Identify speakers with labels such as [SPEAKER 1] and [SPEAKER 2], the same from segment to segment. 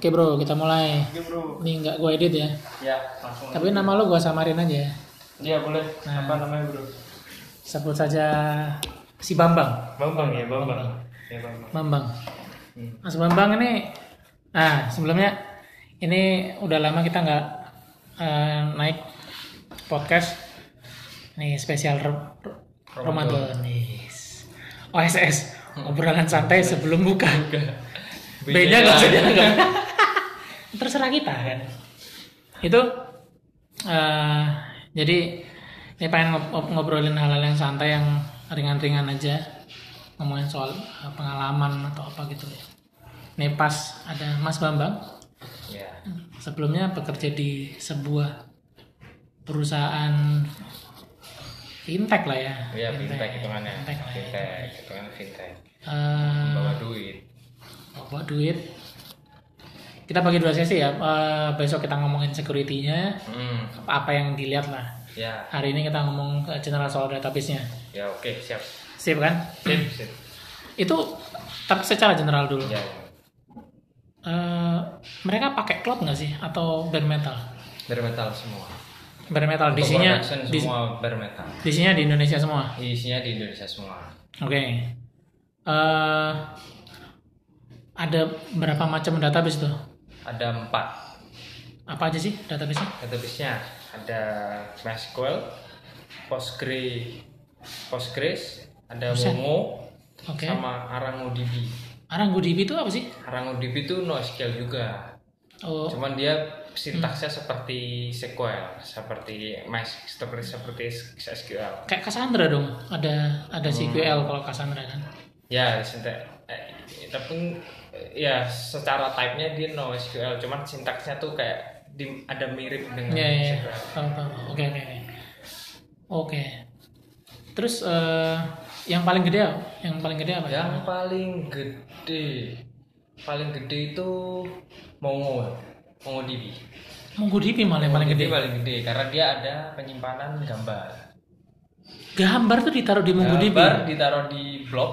[SPEAKER 1] Oke bro, kita mulai.
[SPEAKER 2] Oke bro.
[SPEAKER 1] Ini nggak gue edit ya.
[SPEAKER 2] Ya langsung.
[SPEAKER 1] Tapi nama lo gue samarin aja. ya.
[SPEAKER 2] Iya boleh.
[SPEAKER 1] Nah.
[SPEAKER 2] Apa namanya bro?
[SPEAKER 1] Sebut saja si Bambang.
[SPEAKER 2] Bambang ya Bambang. Ya Bambang.
[SPEAKER 1] Bambang.
[SPEAKER 2] Hmm.
[SPEAKER 1] Mas Bambang ini, nah sebelumnya ini udah lama kita nggak eh, naik podcast. Nih spesial Ro- Ro- Ramadan. Yes. OSS, Oh, obrolan santai sebelum buka. Beda kan? nggak sih? Terserah kita kan. Itu eh, jadi ini pengen ngob- ngobrolin hal-hal yang santai yang ringan-ringan aja ngomongin soal eh, pengalaman atau apa gitu ya. Ini pas ada Mas Bambang
[SPEAKER 2] Ya.
[SPEAKER 1] sebelumnya bekerja di sebuah perusahaan fintech lah ya.
[SPEAKER 2] Ya fintech hitungannya.
[SPEAKER 1] Fintech lah ya.
[SPEAKER 2] Fintech hitungannya fintech.
[SPEAKER 1] Eh,
[SPEAKER 2] Bawa duit.
[SPEAKER 1] bawa duit. Kita bagi dua sesi ya. Eh, besok kita ngomongin security-nya,
[SPEAKER 2] Hmm.
[SPEAKER 1] apa yang dilihat lah.
[SPEAKER 2] Ya.
[SPEAKER 1] Hari ini kita ngomong eh, general soal database-nya.
[SPEAKER 2] Ya oke siap.
[SPEAKER 1] Sip kan?
[SPEAKER 2] Sip sip.
[SPEAKER 1] Itu tapi secara general dulu.
[SPEAKER 2] Ya.
[SPEAKER 1] Eh, mereka pakai cloud nggak sih atau bare metal?
[SPEAKER 2] Bare metal semua.
[SPEAKER 1] Bare metal
[SPEAKER 2] Untuk
[SPEAKER 1] isinya
[SPEAKER 2] production
[SPEAKER 1] dis-
[SPEAKER 2] semua bare metal.
[SPEAKER 1] isinya di Indonesia semua.
[SPEAKER 2] Isinya di Indonesia semua.
[SPEAKER 1] Oke. Eh, ada berapa macam database tuh?
[SPEAKER 2] Ada empat
[SPEAKER 1] Apa aja sih database-nya?
[SPEAKER 2] database-nya. Ada MySQL, Postgre, Postgres, ada
[SPEAKER 1] Buset.
[SPEAKER 2] Momo,
[SPEAKER 1] Oke.
[SPEAKER 2] sama ArangoDB.
[SPEAKER 1] ArangoDB itu apa sih?
[SPEAKER 2] ArangoDB itu NoSQL juga.
[SPEAKER 1] Oh, Hmm.
[SPEAKER 2] Cuman dia sintaksnya seperti SQL, seperti Mas, seperti seperti SQL.
[SPEAKER 1] kayak Cassandra dong. Ada ada
[SPEAKER 2] Hmm.
[SPEAKER 1] SQL kalau Cassandra kan.
[SPEAKER 2] Ya, sintak eh, tapi eh, ya secara type-nya dia NoSQL, cuman sintaksnya tuh kayak di- ada mirip dengan
[SPEAKER 1] Iya, iya.
[SPEAKER 2] SQL.
[SPEAKER 1] Tahu tahu. Oke, oke, oke. Oke. Terus eh, yang paling gede apa? Yang paling gede apa?
[SPEAKER 2] Yang paling gede paling gede itu Mongo. MongoDB.
[SPEAKER 1] MongoDB malah yang paling
[SPEAKER 2] MongoDB
[SPEAKER 1] gede.
[SPEAKER 2] paling gede karena dia ada penyimpanan gambar.
[SPEAKER 1] Gambar tuh ditaruh di MongoDB.
[SPEAKER 2] gambar Eh, ditaruh di blok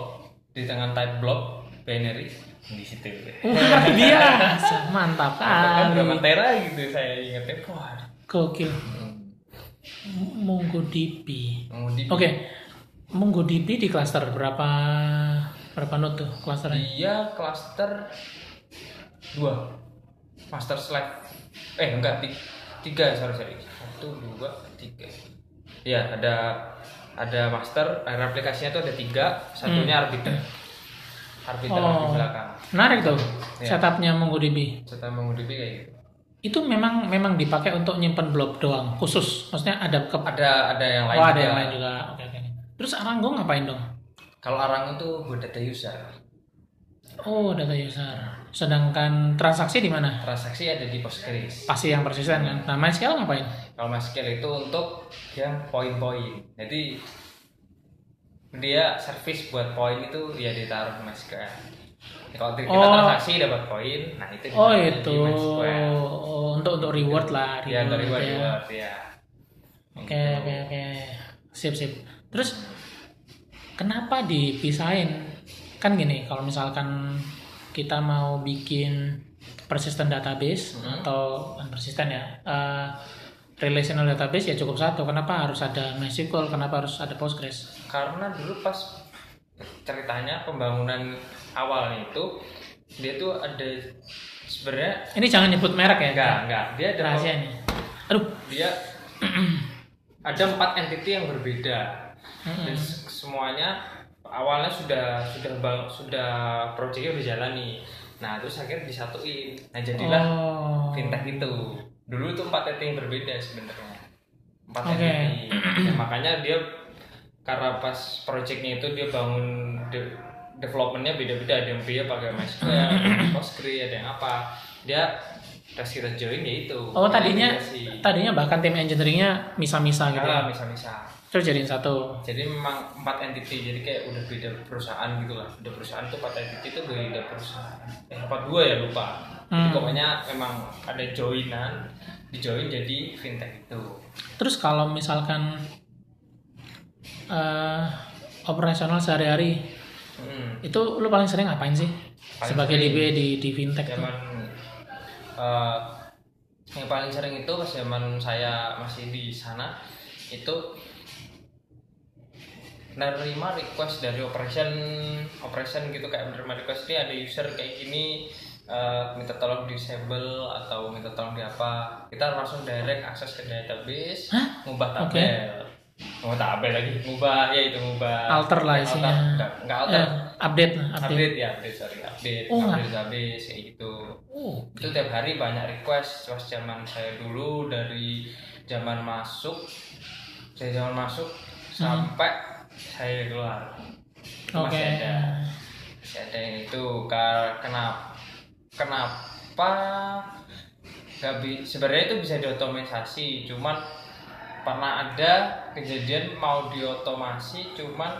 [SPEAKER 2] di tangan type blok binary di situ
[SPEAKER 1] Oh, Luar biasa, mantap
[SPEAKER 2] kan
[SPEAKER 1] kali.
[SPEAKER 2] berapa tera gitu saya ingetnya wah
[SPEAKER 1] Gokil. MongoDB.
[SPEAKER 2] mau di
[SPEAKER 1] Oke. MongoDB di cluster berapa berapa node tuh clusternya?
[SPEAKER 2] dia cluster dua master slide eh enggak ti- tiga sorry sorry satu dua tiga ya ada ada master eh, replikasinya tuh ada tiga satunya arbiter arbiter di
[SPEAKER 1] Hmm. Oh.
[SPEAKER 2] belakang
[SPEAKER 1] Menarik tuh
[SPEAKER 2] Iya.
[SPEAKER 1] setupnya MongoDB.
[SPEAKER 2] serta mengudip kayak gitu
[SPEAKER 1] Itu memang memang dipakai untuk nyimpen blob doang, khusus. Maksudnya ada ke
[SPEAKER 2] ada ada yang lain
[SPEAKER 1] Oh, ada
[SPEAKER 2] juga.
[SPEAKER 1] yang lain juga. Oke, oke. Terus Aranggo ngapain dong?
[SPEAKER 2] kalau arang itu buat data user
[SPEAKER 1] Oh, data user. Sedangkan transaksi di mana?
[SPEAKER 2] transaksi ada di Postgres.
[SPEAKER 1] Pasti yang persisten kan. Nah, MySQL ngapain?
[SPEAKER 2] Kalau MySQL itu untuk yang poin-poin. Jadi dia service buat poin itu ya ditaruh di MySQL. Kalau kita
[SPEAKER 1] Oh.
[SPEAKER 2] transaksi dapat poin, nah itu
[SPEAKER 1] Oh,
[SPEAKER 2] ditaruh
[SPEAKER 1] itu.
[SPEAKER 2] di MySQL.
[SPEAKER 1] Oh, untuk untuk reward lah,
[SPEAKER 2] Ya dari
[SPEAKER 1] reward. ya.
[SPEAKER 2] reward Gitu. ya.
[SPEAKER 1] Oke, oke, oke. Sip, sip. Terus kenapa dipisahin? Kan gini, kalau misalkan kita mau bikin persistent database
[SPEAKER 2] Hmm.
[SPEAKER 1] atau bukan persistent ya, eh, relational database ya cukup satu. Kenapa harus ada MySQL? Kenapa harus ada Postgres?
[SPEAKER 2] Karena dulu pas ceritanya pembangunan awalnya itu dia tuh ada sebenarnya
[SPEAKER 1] Ini jangan nyebut merek ya,
[SPEAKER 2] enggak enggak dia ada
[SPEAKER 1] Rahasia nih. Aduh,
[SPEAKER 2] dia ada empat entity yang berbeda
[SPEAKER 1] Hmm.
[SPEAKER 2] dan se- semuanya awalnya sudah sudah bang, sudah proyeknya udah jalan nih nah terus akhirnya disatuin nah jadilah
[SPEAKER 1] oh.
[SPEAKER 2] fintech itu dulu itu empat entity yang berbeda sebenarnya empat
[SPEAKER 1] Oke.
[SPEAKER 2] entity Nah, makanya dia karena pas proyeknya itu dia bangun de- developmentnya beda-beda ada yang dia pakai MySQL, ada yang Postgre, ada yang apa dia pas kita join ya itu
[SPEAKER 1] Oh, tadinya
[SPEAKER 2] Integrasi.
[SPEAKER 1] tadinya bahkan tim engineeringnya misa-misa gitu. ya.
[SPEAKER 2] Enggak, misah-misah.
[SPEAKER 1] Terus jadiin satu.
[SPEAKER 2] Jadi memang empat entity, jadi kayak udah beda perusahaan gitu lah. Beda perusahaan tuh empat entity tuh beda perusahaan. Eh apa dua ya lupa. Jadi
[SPEAKER 1] Hmm.
[SPEAKER 2] pokoknya memang ada joinan, di join jadi fintech itu.
[SPEAKER 1] Terus kalau misalkan eh operasional sehari-hari
[SPEAKER 2] Hmm.
[SPEAKER 1] itu lu paling sering ngapain sih?
[SPEAKER 2] Paling
[SPEAKER 1] Sebagai
[SPEAKER 2] sering.
[SPEAKER 1] DB di di fintech tuh.
[SPEAKER 2] Zaman eh, yang paling sering itu pas zaman saya masih di sana itu nerima request dari operation operation gitu kayak menerima request ini ada user kayak gini eh, minta tolong disable atau minta tolong di apa kita langsung direct akses ke database
[SPEAKER 1] Hah?
[SPEAKER 2] ngubah
[SPEAKER 1] Oke.
[SPEAKER 2] tabel ngubah tabel lagi ngubah ya itu ngubah
[SPEAKER 1] Alter lah isinya.
[SPEAKER 2] Alter, nggak- nggak alter
[SPEAKER 1] Eh, update lah, update.
[SPEAKER 2] update ya update sorry update
[SPEAKER 1] Oh,
[SPEAKER 2] update database kayak gitu
[SPEAKER 1] Oh,
[SPEAKER 2] itu tiap hari banyak request pas zaman saya dulu dari zaman masuk dari zaman masuk sampai saya keluar
[SPEAKER 1] oke.
[SPEAKER 2] masih ada masih ada yang itu Ka- kenapa kenapa nggak bi- sebenarnya itu bisa diotomatisasi cuman pernah ada kejadian mau diotomasi cuman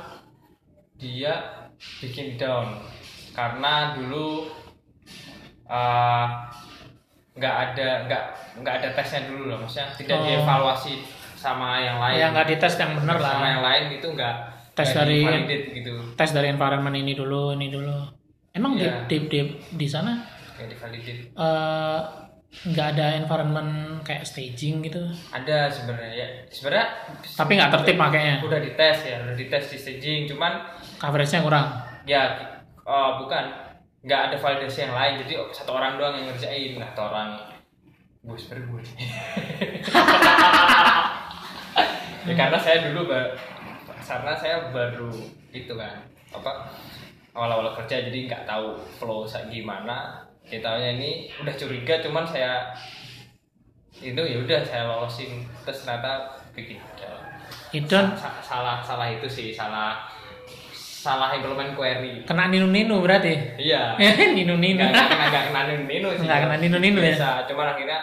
[SPEAKER 2] dia bikin down karena dulu uh, nggak ada nggak nggak ada tesnya dulu lah maksudnya tidak
[SPEAKER 1] Oh.
[SPEAKER 2] dievaluasi sama yang lain
[SPEAKER 1] Ya nggak dites yang bener
[SPEAKER 2] sama
[SPEAKER 1] lah.
[SPEAKER 2] yang lain itu nggak
[SPEAKER 1] Tes
[SPEAKER 2] nggak
[SPEAKER 1] dari-
[SPEAKER 2] divalidate gitu
[SPEAKER 1] Tes dari environment ini dulu, ini dulu. Emang
[SPEAKER 2] Iya.
[SPEAKER 1] di, di, di, di sana
[SPEAKER 2] nggak divalidate
[SPEAKER 1] eh, nggak ada environment kayak staging gitu?
[SPEAKER 2] ada sebenarnya ya sebenarnya
[SPEAKER 1] Tapi nggak tertib makanya.
[SPEAKER 2] udah dites ya udah dites di staging cuman
[SPEAKER 1] Coveragenya kurang.
[SPEAKER 2] ya eh, bukan nggak ada validasi yang lain jadi satu orang doang yang ngerjain nah satu orang gue sebenernya gue ya karena saya dulu ba- karena saya baru itu kan apa awal-awal kerja jadi nggak tahu flow sa- gimana ya tahunya ini udah curiga cuman saya itu ya udah saya lolosin terus ternyata bikin
[SPEAKER 1] Hidden
[SPEAKER 2] Sa- salah salah itu sih salah salah implement query
[SPEAKER 1] kena ninu-ninu berarti.
[SPEAKER 2] iya
[SPEAKER 1] ninu-ninu.
[SPEAKER 2] nggak nggak kena nggak kena nino sih
[SPEAKER 1] Eh, Nggak kena ninu-ninu ya?
[SPEAKER 2] Bisa, cuman akhirnya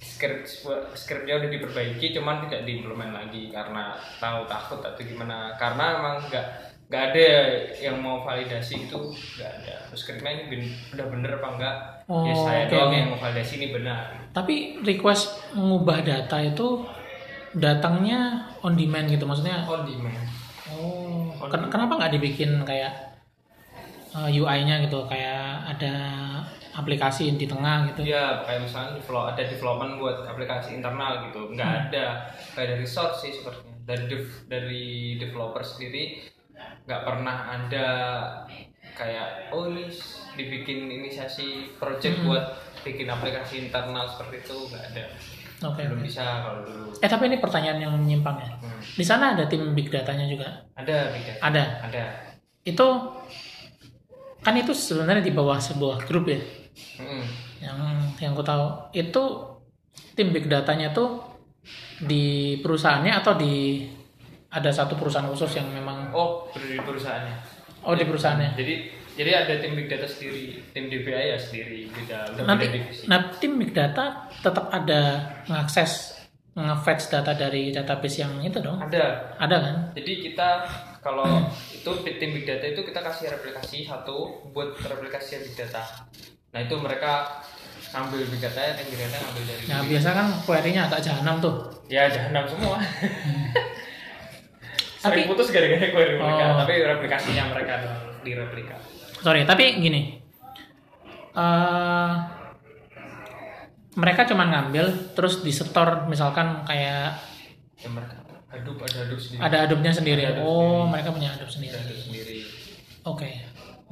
[SPEAKER 2] script scriptnya udah diperbaiki cuman tidak diimplement lagi karena tahu takut atau gimana karena emang nggak nggak ada yang mau validasi itu nggak ada scriptnya ini ben- udah bener apa enggak ya
[SPEAKER 1] Oh,
[SPEAKER 2] saya
[SPEAKER 1] oke,
[SPEAKER 2] doang
[SPEAKER 1] oke.
[SPEAKER 2] yang mau validasi ini benar
[SPEAKER 1] Tapi request mengubah data itu datangnya on demand gitu maksudnya.
[SPEAKER 2] on demand
[SPEAKER 1] Oh, ken- kenapa nggak dibikin kayak UI-nya gitu kayak ada aplikasi di tengah gitu.
[SPEAKER 2] Iya, kayak misalnya develop, ada development buat aplikasi internal gitu, nggak ada kayak dari source sih sepertinya. Dari dev- dari developer sendiri nggak pernah ada kayak oh ini s- dibikin inisiasi project buat bikin aplikasi internal seperti itu nggak ada.
[SPEAKER 1] Oke.
[SPEAKER 2] Belum bisa kalau dulu.
[SPEAKER 1] Eh tapi ini pertanyaan yang menyimpang ya.
[SPEAKER 2] Hmm.
[SPEAKER 1] Di sana ada tim big datanya juga.
[SPEAKER 2] Ada beda.
[SPEAKER 1] Ada.
[SPEAKER 2] Ada.
[SPEAKER 1] Itu kan itu sebenarnya di bawah sebuah grup ya.
[SPEAKER 2] Mm-mm.
[SPEAKER 1] yang yang ku tahu itu tim big datanya tuh di perusahaannya atau di ada satu perusahaan khusus yang memang
[SPEAKER 2] Oh, dari perusahaannya.
[SPEAKER 1] oh di perusahaannya
[SPEAKER 2] Jadi jadi ada tim big data sendiri, tim DBA ya sendiri, beda udah
[SPEAKER 1] nanti
[SPEAKER 2] beda divisi.
[SPEAKER 1] nah tim big data tetap ada mengakses ngefetch data dari database yang itu dong
[SPEAKER 2] Ada,
[SPEAKER 1] ada kan
[SPEAKER 2] Jadi kita kalau itu di tim big data itu kita kasih replikasi satu buat replikasi big data. Nah itu mereka ngambil big data, engineer ngambil dari
[SPEAKER 1] nah biasa kan query-nya agak jahanam tuh
[SPEAKER 2] ya jahanam semua.
[SPEAKER 1] Tapi-
[SPEAKER 2] Sering putus gara-gara query mereka,
[SPEAKER 1] Oh.
[SPEAKER 2] tapi replikasinya mereka direplika.
[SPEAKER 1] sorry tapi gini eh mereka cuman ngambil terus disetor misalkan kayak
[SPEAKER 2] Ya mereka hadup ada hadup sendiri.
[SPEAKER 1] ada adobnya sendiri
[SPEAKER 2] Ada Adobe
[SPEAKER 1] oh mereka punya adob
[SPEAKER 2] Ada
[SPEAKER 1] sendiri
[SPEAKER 2] hadup sendiri.
[SPEAKER 1] oke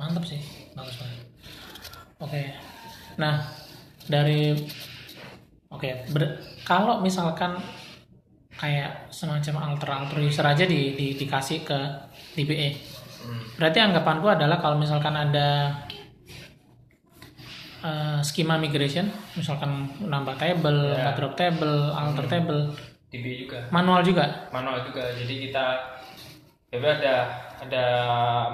[SPEAKER 1] mantap sih bagus banget oke nah dari oke ber- kalau misalkan kayak semacam alter alter user aja di, di- dikasih ke DBE
[SPEAKER 2] Hmm.
[SPEAKER 1] berarti anggapanku adalah kalau misalkan ada eh, skema migration misalkan nambah table
[SPEAKER 2] Ya.
[SPEAKER 1] nambah drop table alter table
[SPEAKER 2] DB juga.
[SPEAKER 1] manual juga
[SPEAKER 2] manual juga jadi kita ya udah ada ada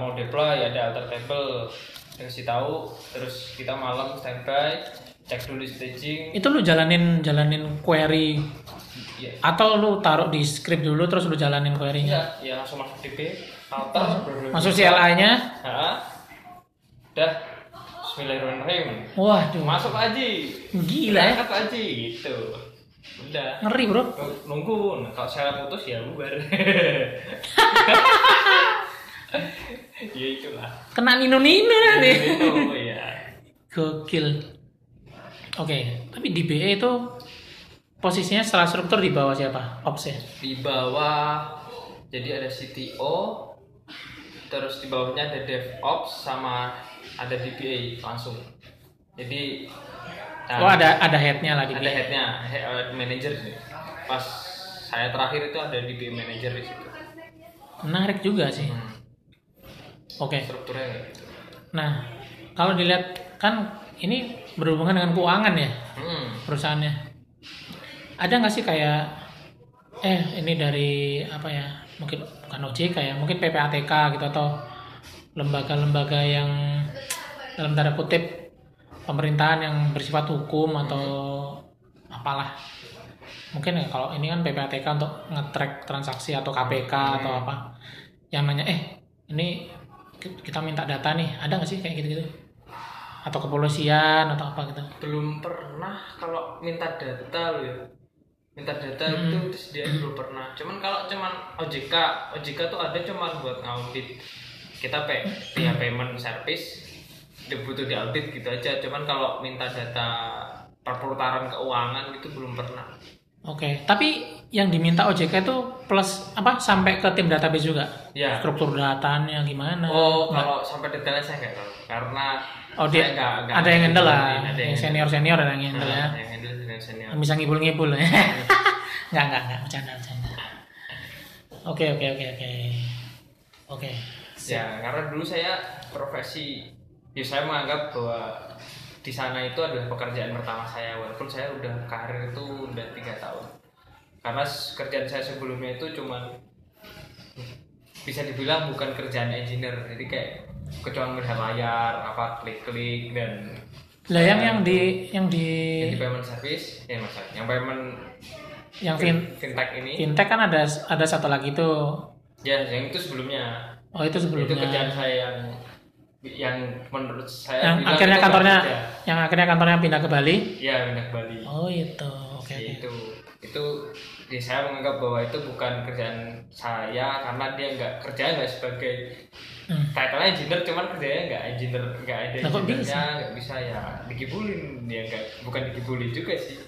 [SPEAKER 2] mau deploy ada alter table dikasih tahu terus kita malam standby cek dulu staging
[SPEAKER 1] itu lu jalanin jalanin query
[SPEAKER 2] ya
[SPEAKER 1] atau lu taruh di script dulu terus lu jalanin query-nya
[SPEAKER 2] ya, ya langsung masuk DB alter
[SPEAKER 1] masuk CLI-nya
[SPEAKER 2] Hah? udah Bismillahirrahmanirrahim
[SPEAKER 1] waduh
[SPEAKER 2] masuk aja
[SPEAKER 1] Gila ya.
[SPEAKER 2] Berangkat aja gitu udah
[SPEAKER 1] ngeri bro
[SPEAKER 2] nunggu nah, kalau saya putus ya bubar ya itulah iya.
[SPEAKER 1] kena nino nino nanti
[SPEAKER 2] itu ya
[SPEAKER 1] gokil tapi di BE itu posisinya setelah struktur di bawah siapa? Ops ya.
[SPEAKER 2] di bawah jadi ada CTO terus di bawahnya ada DevOps sama ada DBA langsung jadi nah,
[SPEAKER 1] Oh ada ada headnya lagi.
[SPEAKER 2] ada headnya head uh, manager sih pas saya terakhir itu ada DBA manager di situ
[SPEAKER 1] Menarik juga sih.
[SPEAKER 2] Hmm,
[SPEAKER 1] Oke.
[SPEAKER 2] strukturnya kayak gitu
[SPEAKER 1] Nah, kalau dilihat kan ini berhubungan dengan keuangan ya
[SPEAKER 2] hmm.
[SPEAKER 1] perusahaannya. Ada nggak sih kayak eh ini dari apa ya? Mungkin bukan OJK ya, mungkin PPATK gitu atau lembaga-lembaga yang dalam tanda kutip pemerintahan yang bersifat hukum atau apalah. Mungkin ya kalau ini kan PPATK untuk nge-track transaksi atau KPK atau apa. Yang nanya, "Eh, ini ki- kita minta data nih, ada nggak sih kayak gitu-gitu?" Atau kepolisian atau apa gitu.
[SPEAKER 2] belum pernah kalau minta data lo ya minta data
[SPEAKER 1] Hmm.
[SPEAKER 2] itu terus dia belum pernah cuman kalau cuman OJK OJK tuh ada cuman buat ngaudit kita pay ya payment service dia butuh diaudit gitu aja cuman kalau minta data perputaran keuangan itu belum pernah
[SPEAKER 1] Oke, tapi yang diminta OJK itu plus apa sampai ke tim database juga?
[SPEAKER 2] ya
[SPEAKER 1] Struktur datanya gimana?
[SPEAKER 2] oh
[SPEAKER 1] Nggak-
[SPEAKER 2] kalau sampai detailnya saya nggak tahu karena
[SPEAKER 1] Nah, Oh, dia-
[SPEAKER 2] saya nggak- nggak-
[SPEAKER 1] ada yang handle lah,
[SPEAKER 2] ada
[SPEAKER 1] yang senior senior ada yang handle ya,
[SPEAKER 2] Nah, Iya. yang handle senior senior
[SPEAKER 1] yang bisa ngibul-ngibul ya. nggak nggak nggak bercanda bercanda. Oke oke oke oke oke.
[SPEAKER 2] Ya, karena dulu saya profesi, ya saya menganggap bahwa di sana itu adalah pekerjaan pertama saya walaupun saya udah karir itu udah tiga tahun. Karena s- kerjaan saya sebelumnya itu cuman bisa dibilang bukan kerjaan engineer, jadi kayak kecuali melihat layar, apa klik-klik dan
[SPEAKER 1] Lah yang yang di yang di
[SPEAKER 2] jadi payment service, ya masalah. Yang payment
[SPEAKER 1] yang fin-
[SPEAKER 2] fintech ini,
[SPEAKER 1] fintech kan ada ada satu lagi tuh.
[SPEAKER 2] ya yang itu sebelumnya
[SPEAKER 1] Oh itu
[SPEAKER 2] itu
[SPEAKER 1] sebelumnya.
[SPEAKER 2] kerjaan saya yang yang menurut saya
[SPEAKER 1] Yang
[SPEAKER 2] bilang
[SPEAKER 1] akhirnya
[SPEAKER 2] itu nggak
[SPEAKER 1] kantornya
[SPEAKER 2] kerja.
[SPEAKER 1] yang akhirnya kantornya pindah ke Bali.
[SPEAKER 2] ya pindah ke Bali
[SPEAKER 1] Oh itu oke oke.
[SPEAKER 2] itu itu ya, saya menganggap bahwa itu bukan kerjaan saya karena dia nggak kerjanya nggak sebagai
[SPEAKER 1] Hmm.
[SPEAKER 2] title engineer cuman kerjanya nggak engineer nggak ada
[SPEAKER 1] Lah, kok
[SPEAKER 2] engineer-nya, nggak bisa ya dikibulin ya nggak bukan dikibulin juga sih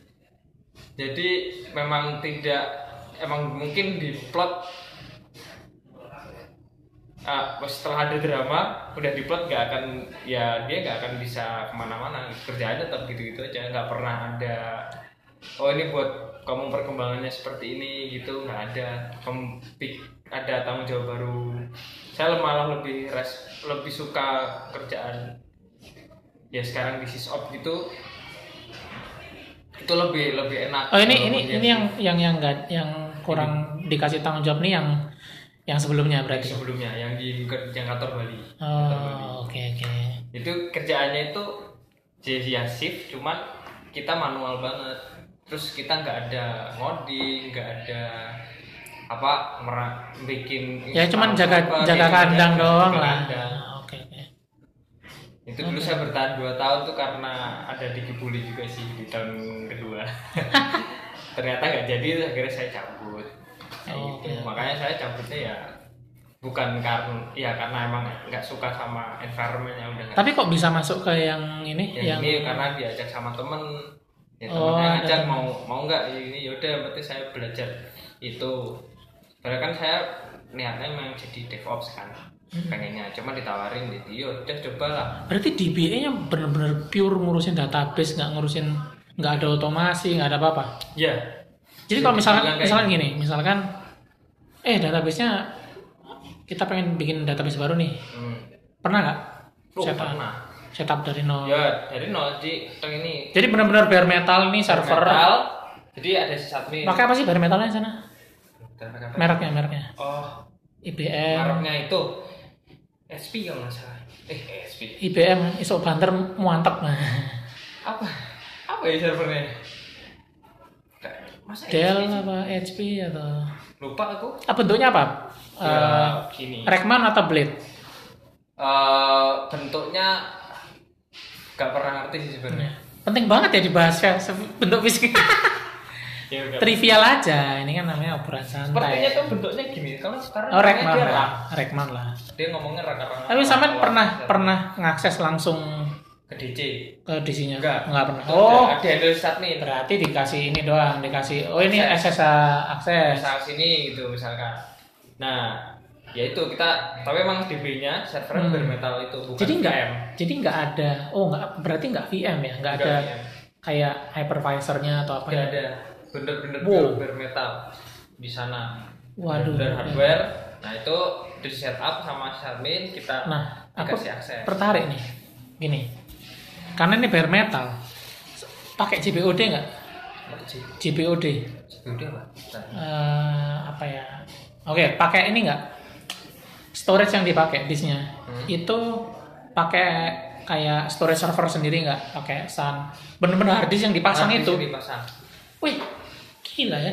[SPEAKER 2] jadi memang tidak emang mungkin di plot ah, setelah ada drama udah di plot nggak akan ya dia nggak akan bisa kemana-mana kerjaannya tetap gitu-gitu aja nggak pernah ada oh ini buat kamu perkembangannya seperti ini gitu nggak ada kamu pik- ada tanggung jawab baru saya malah lebih res, lebih suka kerjaan ya sekarang di sisop gitu itu lebih lebih enak
[SPEAKER 1] Oh ini
[SPEAKER 2] Kalau
[SPEAKER 1] ini
[SPEAKER 2] punya
[SPEAKER 1] ini yang yang yang nggak- yang kurang dikasih tanggung jawab nih yang yang sebelumnya berarti.
[SPEAKER 2] sebelumnya yang di yang kantor Bali
[SPEAKER 1] Oh oke oke.
[SPEAKER 2] itu kerjaannya itu jadi ya shift cuman kita manual banget terus kita nggak ada ngoding nggak ada apa merah bikin
[SPEAKER 1] Ya cuman jaga
[SPEAKER 2] apa,
[SPEAKER 1] jaga
[SPEAKER 2] kayak
[SPEAKER 1] kandang
[SPEAKER 2] kan jaga
[SPEAKER 1] doang lah.
[SPEAKER 2] kandang.
[SPEAKER 1] Oke oke.
[SPEAKER 2] itu dulu saya bertahan 2 tahun tuh karena ada dikebuli juga sih di tahun kedua ternyata nggak jadi terus akhirnya saya cabut Kayak
[SPEAKER 1] Oh,
[SPEAKER 2] gitu.
[SPEAKER 1] oke.
[SPEAKER 2] makanya saya cabutnya ya bukan karena ya karena emang nggak suka sama environment yang udah nggak
[SPEAKER 1] Tapi kok bisa masuk ke yang ini yang,
[SPEAKER 2] yang ini karena diajak sama temen ya
[SPEAKER 1] Iya, Oh, ada
[SPEAKER 2] temennya ngajak
[SPEAKER 1] temen.
[SPEAKER 2] mau mau nggak Ya, ini yaudah yang penting saya belajar itu padahal kan saya niatnya memang jadi DevOps kan
[SPEAKER 1] Hmm.
[SPEAKER 2] pengennya cuma ditawarin gitu yaudah cobalah
[SPEAKER 1] berarti DBA-nya bener-bener pure ngurusin database nggak ngurusin nggak ada otomasi nggak ada apa-apa.
[SPEAKER 2] ya
[SPEAKER 1] Jadi kalau misalkan
[SPEAKER 2] Dibilang kayak
[SPEAKER 1] misalkan gini misalkan eh database-nya kita pengen bikin database baru nih
[SPEAKER 2] hmm.
[SPEAKER 1] pernah nggak
[SPEAKER 2] Oh,
[SPEAKER 1] setup
[SPEAKER 2] pernah
[SPEAKER 1] setup dari nol?
[SPEAKER 2] ya dari nol di yang ini
[SPEAKER 1] Jadi benar-benar bare metal nih server.
[SPEAKER 2] metal, jadi ada sysadmin
[SPEAKER 1] Pakai apa sih bare metalnya sana?
[SPEAKER 2] Dan pakai apa?
[SPEAKER 1] Mereknya, mereknya.
[SPEAKER 2] oh
[SPEAKER 1] IBM.
[SPEAKER 2] mereknya itu SP kalau nggak salah eh SP
[SPEAKER 1] IBM iso banter muantep.
[SPEAKER 2] apa apa ya servernya Kayak- masa
[SPEAKER 1] Dell
[SPEAKER 2] SP?
[SPEAKER 1] apa HP atau
[SPEAKER 2] lupa aku
[SPEAKER 1] apa bentuknya apa? Eh,
[SPEAKER 2] ya, gini
[SPEAKER 1] Rackman atau Blade?
[SPEAKER 2] Eh, bentuknya gak pernah ngerti sih sebenarnya
[SPEAKER 1] Penting banget ya dibahas ya se- bentuk fisik.
[SPEAKER 2] ya, udah.
[SPEAKER 1] Trivial aja, ini kan namanya obrolan
[SPEAKER 2] sepertinya
[SPEAKER 1] Hmm. santai.
[SPEAKER 2] tuh bentuknya gini kalau sekarang
[SPEAKER 1] Oh, Rackman
[SPEAKER 2] dia
[SPEAKER 1] lah.
[SPEAKER 2] rak.
[SPEAKER 1] Rackman lah.
[SPEAKER 2] dia ngomongnya rak apa
[SPEAKER 1] Tapi sampean pernah pernah ngakses langsung
[SPEAKER 2] ke DC
[SPEAKER 1] ke DC-nya?
[SPEAKER 2] Enggak.
[SPEAKER 1] Enggak pernah.
[SPEAKER 2] Atau
[SPEAKER 1] Oh,
[SPEAKER 2] ada handle admin
[SPEAKER 1] berarti dikasih ini doang, dikasih oh ini
[SPEAKER 2] Akses.
[SPEAKER 1] SSA akses.
[SPEAKER 2] saat sini gitu misalkan nah ya itu kita tapi emang DB-nya server
[SPEAKER 1] Hmm.
[SPEAKER 2] bermetal itu bukan
[SPEAKER 1] Jadi enggak
[SPEAKER 2] VM.
[SPEAKER 1] jadi enggak ada. Oh, enggak berarti enggak VM ya, enggak ada
[SPEAKER 2] VM.
[SPEAKER 1] kayak hypervisornya atau apa
[SPEAKER 2] Nggak
[SPEAKER 1] ya.
[SPEAKER 2] Oh, ada bener-bener
[SPEAKER 1] Wow.
[SPEAKER 2] pure bare metal di sana
[SPEAKER 1] Waduh.
[SPEAKER 2] dan hardware nah itu di setup sama admin kita
[SPEAKER 1] Nah, aku
[SPEAKER 2] dikasih akses
[SPEAKER 1] tertarik nih. Gini. Karena ini bare metal. Pakai JPOD enggak? JPOD.
[SPEAKER 2] udah lah
[SPEAKER 1] eh apa ya? Oke, pakai ini enggak? Storage yang dipakai disknya
[SPEAKER 2] Hmm.
[SPEAKER 1] itu pakai kayak storage server sendiri nggak pakai SAN bener-bener hard disk yang dipasang
[SPEAKER 2] Nah,
[SPEAKER 1] itu
[SPEAKER 2] bisa dipasang
[SPEAKER 1] wih gila ya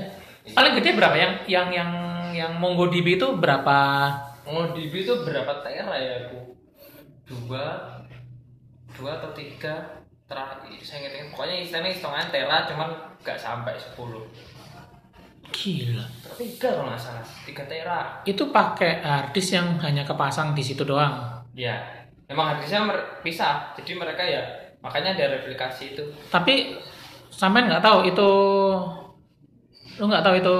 [SPEAKER 1] paling gede berapa yang yang yang yang MongoDB itu berapa
[SPEAKER 2] MongoDB itu berapa tera ya aku dua dua atau tiga terakhir saya ingat pokoknya istilahnya hitungan tera cuman nggak sampai sepuluh
[SPEAKER 1] gila
[SPEAKER 2] tiga kalau nggak salah tiga tera
[SPEAKER 1] itu pakai hard disk yang hanya kepasang di situ doang
[SPEAKER 2] ya memang harganya mer- pisah jadi mereka ya makanya ada replikasi itu
[SPEAKER 1] tapi sampean nggak tahu itu lu nggak tahu itu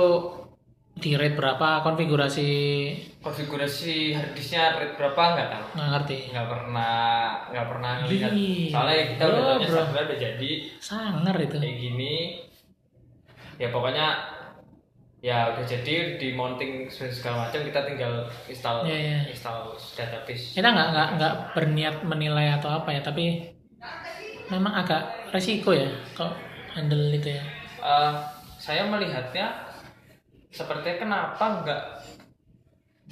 [SPEAKER 1] di rate berapa konfigurasi
[SPEAKER 2] konfigurasi harddisknya rate berapa nggak tahu
[SPEAKER 1] nggak ngerti
[SPEAKER 2] nggak pernah nggak pernah ngelihat
[SPEAKER 1] Gila,
[SPEAKER 2] soalnya kita udah tanya
[SPEAKER 1] bro.
[SPEAKER 2] server udah jadi
[SPEAKER 1] sangar itu
[SPEAKER 2] kayak gini ya pokoknya ya udah jadi di mounting segala macam kita tinggal install
[SPEAKER 1] Iya, iya.
[SPEAKER 2] install database
[SPEAKER 1] kita nggak nggak nggak berniat menilai atau apa ya tapi memang agak resiko ya kalau handle itu ya
[SPEAKER 2] Eh, saya melihatnya sepertinya kenapa nggak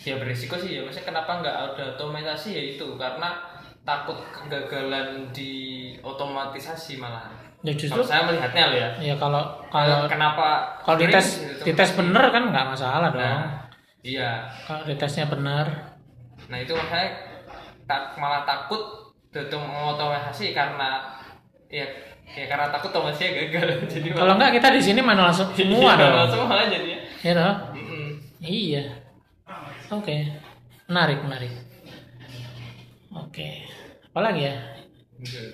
[SPEAKER 2] ya berisiko sih ya maksudnya kenapa nggak ada otomatisasi ya itu karena takut kegagalan di otomatisasi malah
[SPEAKER 1] ya justru
[SPEAKER 2] kalau saya melihatnya loh ya
[SPEAKER 1] ya kalau kalau
[SPEAKER 2] kalau kenapa
[SPEAKER 1] kalau
[SPEAKER 2] kering
[SPEAKER 1] dites
[SPEAKER 2] gitu.
[SPEAKER 1] dites bener kan nggak masalah dong
[SPEAKER 2] nah, iya
[SPEAKER 1] kalau ditesnya bener
[SPEAKER 2] nah itu makanya tak, malah takut tutup otomatisasi karena ya ya karena takut otomatisasinya gagal jadi
[SPEAKER 1] kalau nggak kita di sini manual se- semua dong
[SPEAKER 2] malah semua jadinya
[SPEAKER 1] ya toh?
[SPEAKER 2] Mm-mm.
[SPEAKER 1] iya oke menarik menarik oke apalagi ya
[SPEAKER 2] Gitu.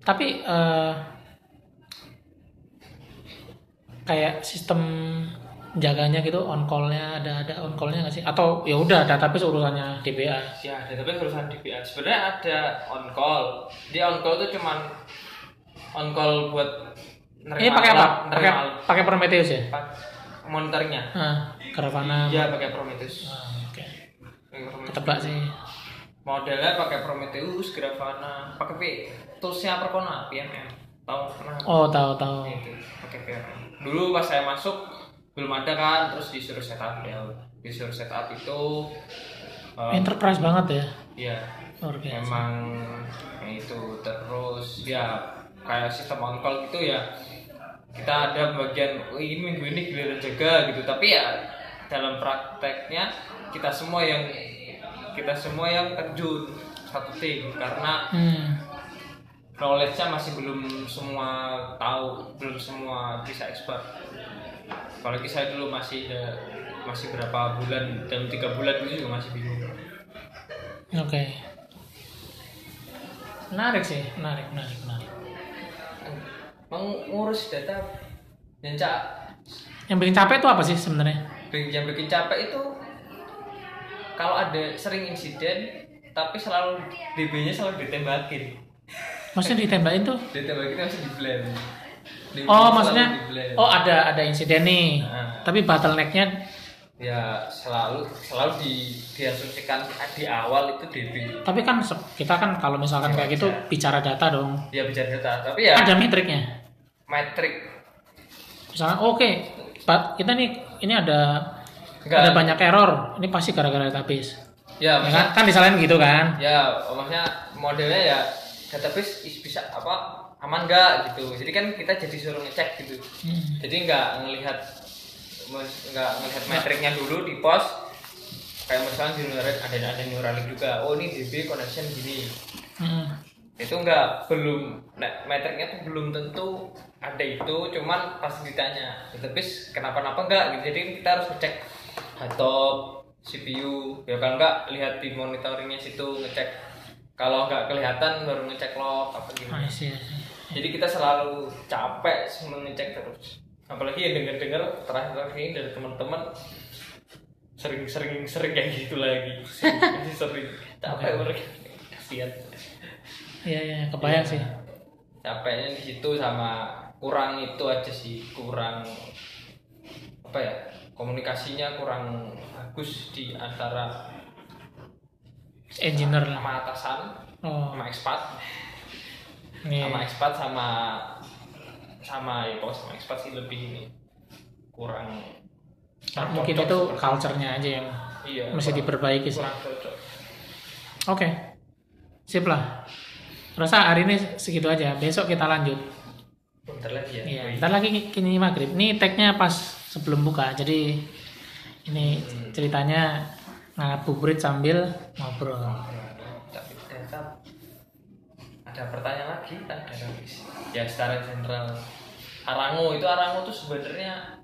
[SPEAKER 1] tapi eh, kayak sistem jaganya gitu on callnya ada ada on callnya nggak sih atau ya udah database urusannya DBA
[SPEAKER 2] Ya, database urusan DPR. Sebenarnya ada on call. Dia on call tuh cuman on call buat
[SPEAKER 1] ini pakai apa
[SPEAKER 2] alat,
[SPEAKER 1] pakai
[SPEAKER 2] nerima alat.
[SPEAKER 1] pakai Prometheus ya
[SPEAKER 2] Pa- monitoringnya.
[SPEAKER 1] ah Caravana
[SPEAKER 2] Iya, pakai Prometheus.
[SPEAKER 1] Ah, oke
[SPEAKER 2] Pakai Prometheus.
[SPEAKER 1] ketebak sih
[SPEAKER 2] Modelnya pakai Prometheus, Grafana, pakai P. Toolsnya Perkona, PMM. Tahu pernah?
[SPEAKER 1] oh tahu tahu
[SPEAKER 2] Itu, pakai PMM. Dulu pas saya masuk belum ada kan, terus disuruh setup ya. Disuruh setup itu eh,
[SPEAKER 1] enterprise banget ya
[SPEAKER 2] ya
[SPEAKER 1] luar biasa.
[SPEAKER 2] emang ya itu terus ya kayak sistem on call gitu ya kita ada bagian "Oh, ini minggu ini giliran jaga gitu tapi ya dalam prakteknya kita semua yang kita semua yang terjun satu tim karena
[SPEAKER 1] hmm.
[SPEAKER 2] knowledge-nya masih belum semua tahu belum semua bisa expert apalagi saya dulu masih ada- masih berapa bulan dalam tiga bulan itu juga masih bingung
[SPEAKER 1] oke menarik sih menarik menarik menarik
[SPEAKER 2] mengurus data yang cak
[SPEAKER 1] yang bikin capek itu apa sih sebenarnya
[SPEAKER 2] yang bikin capek itu kalau ada sering insiden tapi selalu DB-nya selalu ditembakin
[SPEAKER 1] maksudnya ditembakin tuh
[SPEAKER 2] ditembakin masih di blame DB-nya
[SPEAKER 1] Oh
[SPEAKER 2] selalu
[SPEAKER 1] maksudnya,
[SPEAKER 2] di-blame.
[SPEAKER 1] oh ada ada insiden nih,
[SPEAKER 2] Nah.
[SPEAKER 1] tapi bottlenecknya,
[SPEAKER 2] ya selalu selalu di diasumsikan di awal itu DB
[SPEAKER 1] tapi kan se- kita kan kalau misalkan kayak gitu bicara data dong,
[SPEAKER 2] ya bicara data tapi ya
[SPEAKER 1] ada metriknya.
[SPEAKER 2] metrik
[SPEAKER 1] Misalnya oke, Pak, kita nih ini ada
[SPEAKER 2] Enggak.
[SPEAKER 1] ada banyak error, ini pasti gara-gara database. Ya
[SPEAKER 2] ya maksudnya
[SPEAKER 1] kan, kan disalahin gitu kan?
[SPEAKER 2] ya maksudnya modelnya ya database is- bisa apa aman nggak gitu jadi kan kita jadi suruh ngecek gitu
[SPEAKER 1] Hmm.
[SPEAKER 2] jadi nggak ngelihat nggak ngelihat metriknya dulu di pos kayak misalnya di Neuralink ada ada Neuralink juga oh ini DB connection gini
[SPEAKER 1] Hmm.
[SPEAKER 2] itu nggak belum nah, metriknya tuh belum tentu ada itu cuman pas ditanya database kenapa-napa nggak gitu jadi kita harus ngecek laptop CPU ya kalau nggak lihat di monitoringnya situ ngecek kalau nggak kelihatan baru ngecek log apa gimana
[SPEAKER 1] Ah, I see, I see.
[SPEAKER 2] jadi kita selalu capek mengecek terus apalagi ya dengar-dengar terakhir-terakhir ini dari teman-teman sering-sering sering kayak gitu lagi sering, sering. capek mereka kasihan
[SPEAKER 1] Iya, iya, kebayang sih.
[SPEAKER 2] capeknya di situ sama kurang itu aja sih kurang apa ya komunikasinya kurang bagus di antara
[SPEAKER 1] Engineer lah.
[SPEAKER 2] sama atasan
[SPEAKER 1] Oh,
[SPEAKER 2] sama expat
[SPEAKER 1] nih.
[SPEAKER 2] sama expat sama sama ya pokoknya sama expat sih lebih ini kurang
[SPEAKER 1] Mungkin
[SPEAKER 2] kurang
[SPEAKER 1] itu
[SPEAKER 2] cocok
[SPEAKER 1] culture-nya aja yang
[SPEAKER 2] seperti- iya,
[SPEAKER 1] mesti
[SPEAKER 2] kurang-
[SPEAKER 1] diperbaiki sih. Oke.
[SPEAKER 2] kurang cocok
[SPEAKER 1] Sip lah. Rasa hari ini segitu aja. Besok kita lanjut.
[SPEAKER 2] bentar lagi ya
[SPEAKER 1] Iya,
[SPEAKER 2] Wih.
[SPEAKER 1] bentar lagi kini maghrib. Ini tag-nya pas sebelum buka. Jadi ini ceritanya ngabuburit sambil ngobrol.
[SPEAKER 2] tapi ternyata ada pertanyaan lagi ada habis ya secara general Arango itu Arango tuh sebenarnya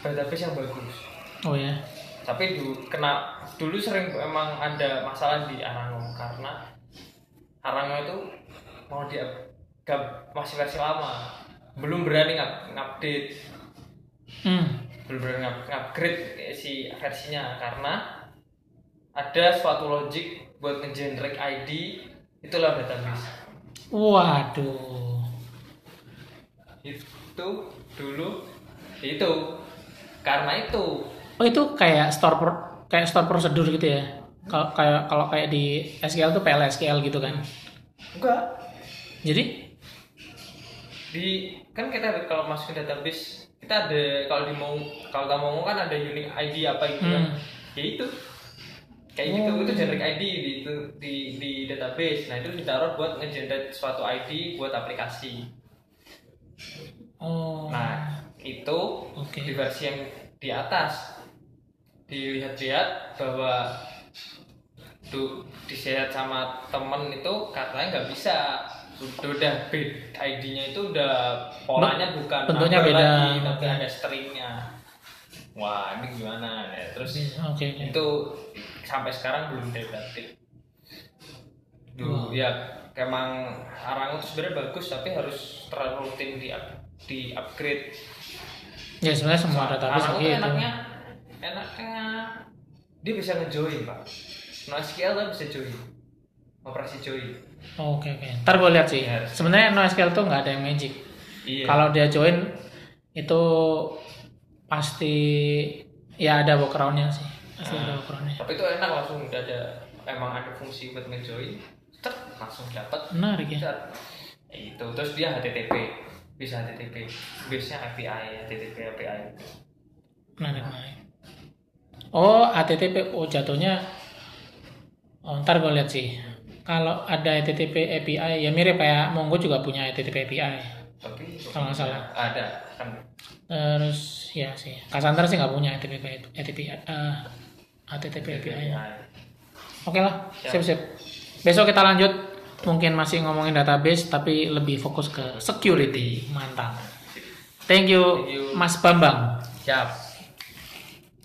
[SPEAKER 2] database yang bagus
[SPEAKER 1] Oh ya.
[SPEAKER 2] tapi dulu kena dulu sering emang ada masalah di Arango karena Arango itu mau di gab- masih versi lama belum berani ngap- ngupdate
[SPEAKER 1] Hmm.
[SPEAKER 2] belum berani ngap- ngupgrade si versinya karena ada suatu logic buat nge-generate ID itu lewat database
[SPEAKER 1] Waduh.
[SPEAKER 2] itu dulu itu karena itu
[SPEAKER 1] Oh itu kayak store pro- kayak store prosedur gitu ya. Kalau kayak kalau kayak di SQL tuh PLSQL gitu kan.
[SPEAKER 2] enggak
[SPEAKER 1] Jadi
[SPEAKER 2] di kan kita ada- kalau masukin database kita ada kalau di mau kalau kamu mau kan ada unique ID apa gitu kan
[SPEAKER 1] Hmm.
[SPEAKER 2] ya itu kayak gitu itu generic ID di itu di, di database nah itu ditaruh buat ngegenerate suatu ID buat aplikasi
[SPEAKER 1] oh.
[SPEAKER 2] nah itu
[SPEAKER 1] Oke.
[SPEAKER 2] di versi yang di atas dilihat-lihat bahwa tuh dilihat sama temen itu katanya nggak bisa udah bed ID-nya itu udah polanya bukan
[SPEAKER 1] bentuknya
[SPEAKER 2] number
[SPEAKER 1] beda.
[SPEAKER 2] lagi, tapi ada stringnya wah ini gimana ya terus
[SPEAKER 1] Oke oke.
[SPEAKER 2] itu sampai sekarang belum diadaptif
[SPEAKER 1] Wow.
[SPEAKER 2] dulu ya emang arang itu sebenarnya bagus tapi harus terlalu rutin di di upgrade
[SPEAKER 1] Ya sebenarnya semua database
[SPEAKER 2] Arang itu
[SPEAKER 1] gitu.
[SPEAKER 2] enaknya enaknya dia bisa ngejoin pak NoSQL tuh bisa join operasi join
[SPEAKER 1] Oh, Oke oke. Ntar gue lihat sih.
[SPEAKER 2] Iya.
[SPEAKER 1] Sebenarnya NoSQL tuh nggak ada yang magic.
[SPEAKER 2] iya
[SPEAKER 1] Kalau dia join itu pasti ya ada backgroundnya sih. Pasti
[SPEAKER 2] Hmm.
[SPEAKER 1] ada backgroundnya.
[SPEAKER 2] tapi itu enak langsung udah ada emang ada fungsi buat ngejoin Cet, langsung dapat
[SPEAKER 1] Menarik ya.
[SPEAKER 2] Set. Eh, itu terus dia HTTP bisa HTTP biasanya API HTTP API
[SPEAKER 1] Menarik menarik. Oh HTTP oh jatuhnya oh, ntar gue lihat sih. Kalau ada HTTP API ya mirip kayak Mongo juga punya HTTP API.
[SPEAKER 2] tapi
[SPEAKER 1] Kalau nggak salah.
[SPEAKER 2] ada kan
[SPEAKER 1] Terus ya sih. Cassandra sih nggak punya HTTP HTTP eh, HTTP API. Oke lah,
[SPEAKER 2] Siap.
[SPEAKER 1] sip-sip. Besok kita lanjut, mungkin masih ngomongin database, tapi lebih fokus ke security. Mantap. Thank you,
[SPEAKER 2] Thank you.
[SPEAKER 1] Mas Bambang.
[SPEAKER 2] siap